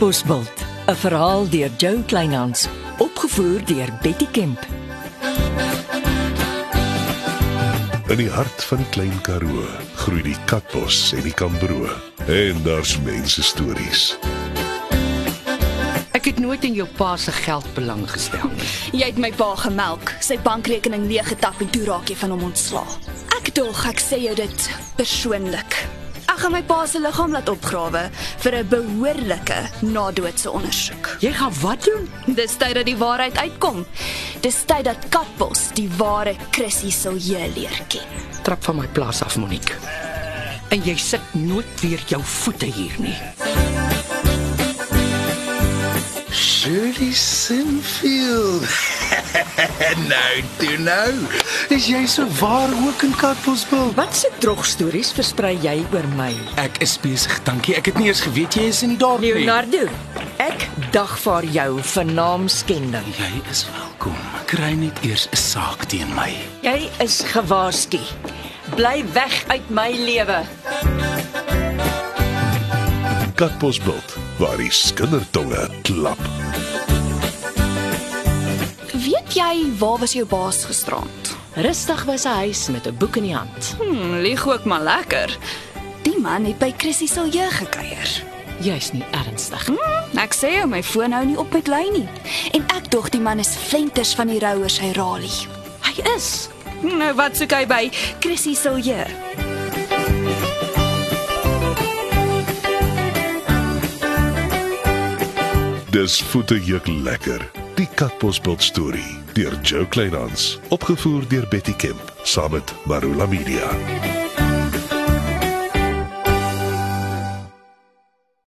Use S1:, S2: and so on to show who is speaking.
S1: Bosbult, 'n verhaal deur Jo Kleinhans, opgevoer deur Betty Kemp.
S2: In die hart van Klein Karoo groei die katbos en die kambroe en daar's mense stories.
S3: Ek het nooit in jou pa se geld belang gestel nie.
S4: Jy het my pa gemelk, sy bankrekening leeggetap en toe raak jy van hom ontslae. Ek dog ek sê jou dit persoonlik. Ek gaan my pa se liggaam laat opgrawe vir 'n behoorlike nadoodse ondersoek.
S3: Jy gaan wat doen?
S4: Dis tyd dat die waarheid uitkom. Dis tyd dat Katbos die ware Chrissy Silje leer ken.
S3: Trap van my plaas af, Monique. En jy sit nooit weer jou voete hier nie.
S5: Shirley Sinfield. nou, toe nou. Is jy so waar ook in Katbosbil?
S1: Watse drogstories versprei jy oor my?
S5: Ek is besig, dankie. Ek het nie eens geweet jy is in die dorp nie.
S1: Leonardo, ek dagvaar jou vir naamskending.
S5: Jy is welkom. Kry net eers 'n saak teen my.
S1: Jy is gewaarsku. Bly weg uit my lewe.
S2: Katbosbult waar die skindertonge klap.
S4: Weet jy waar was jou baas gisterand?
S6: Rustig by sy huis met 'n boek in die hand.
S4: Hm, lieg ook maar lekker. Die man het by Chrissy Silje gekuier.
S6: Jy's nie ernstig.
S4: Ek sê jou, my foon hou nie op met lui nie. En ek dog die man is flenters van die rouer sy rally.
S6: Hy is.
S4: Nou wat soek hy by Chrissy Silje?
S2: Dis voetejuk lekker. Die Katbosbult storie deur Jo Kleinhans, opgevoer deur Betty Kemp saam met Marula Media.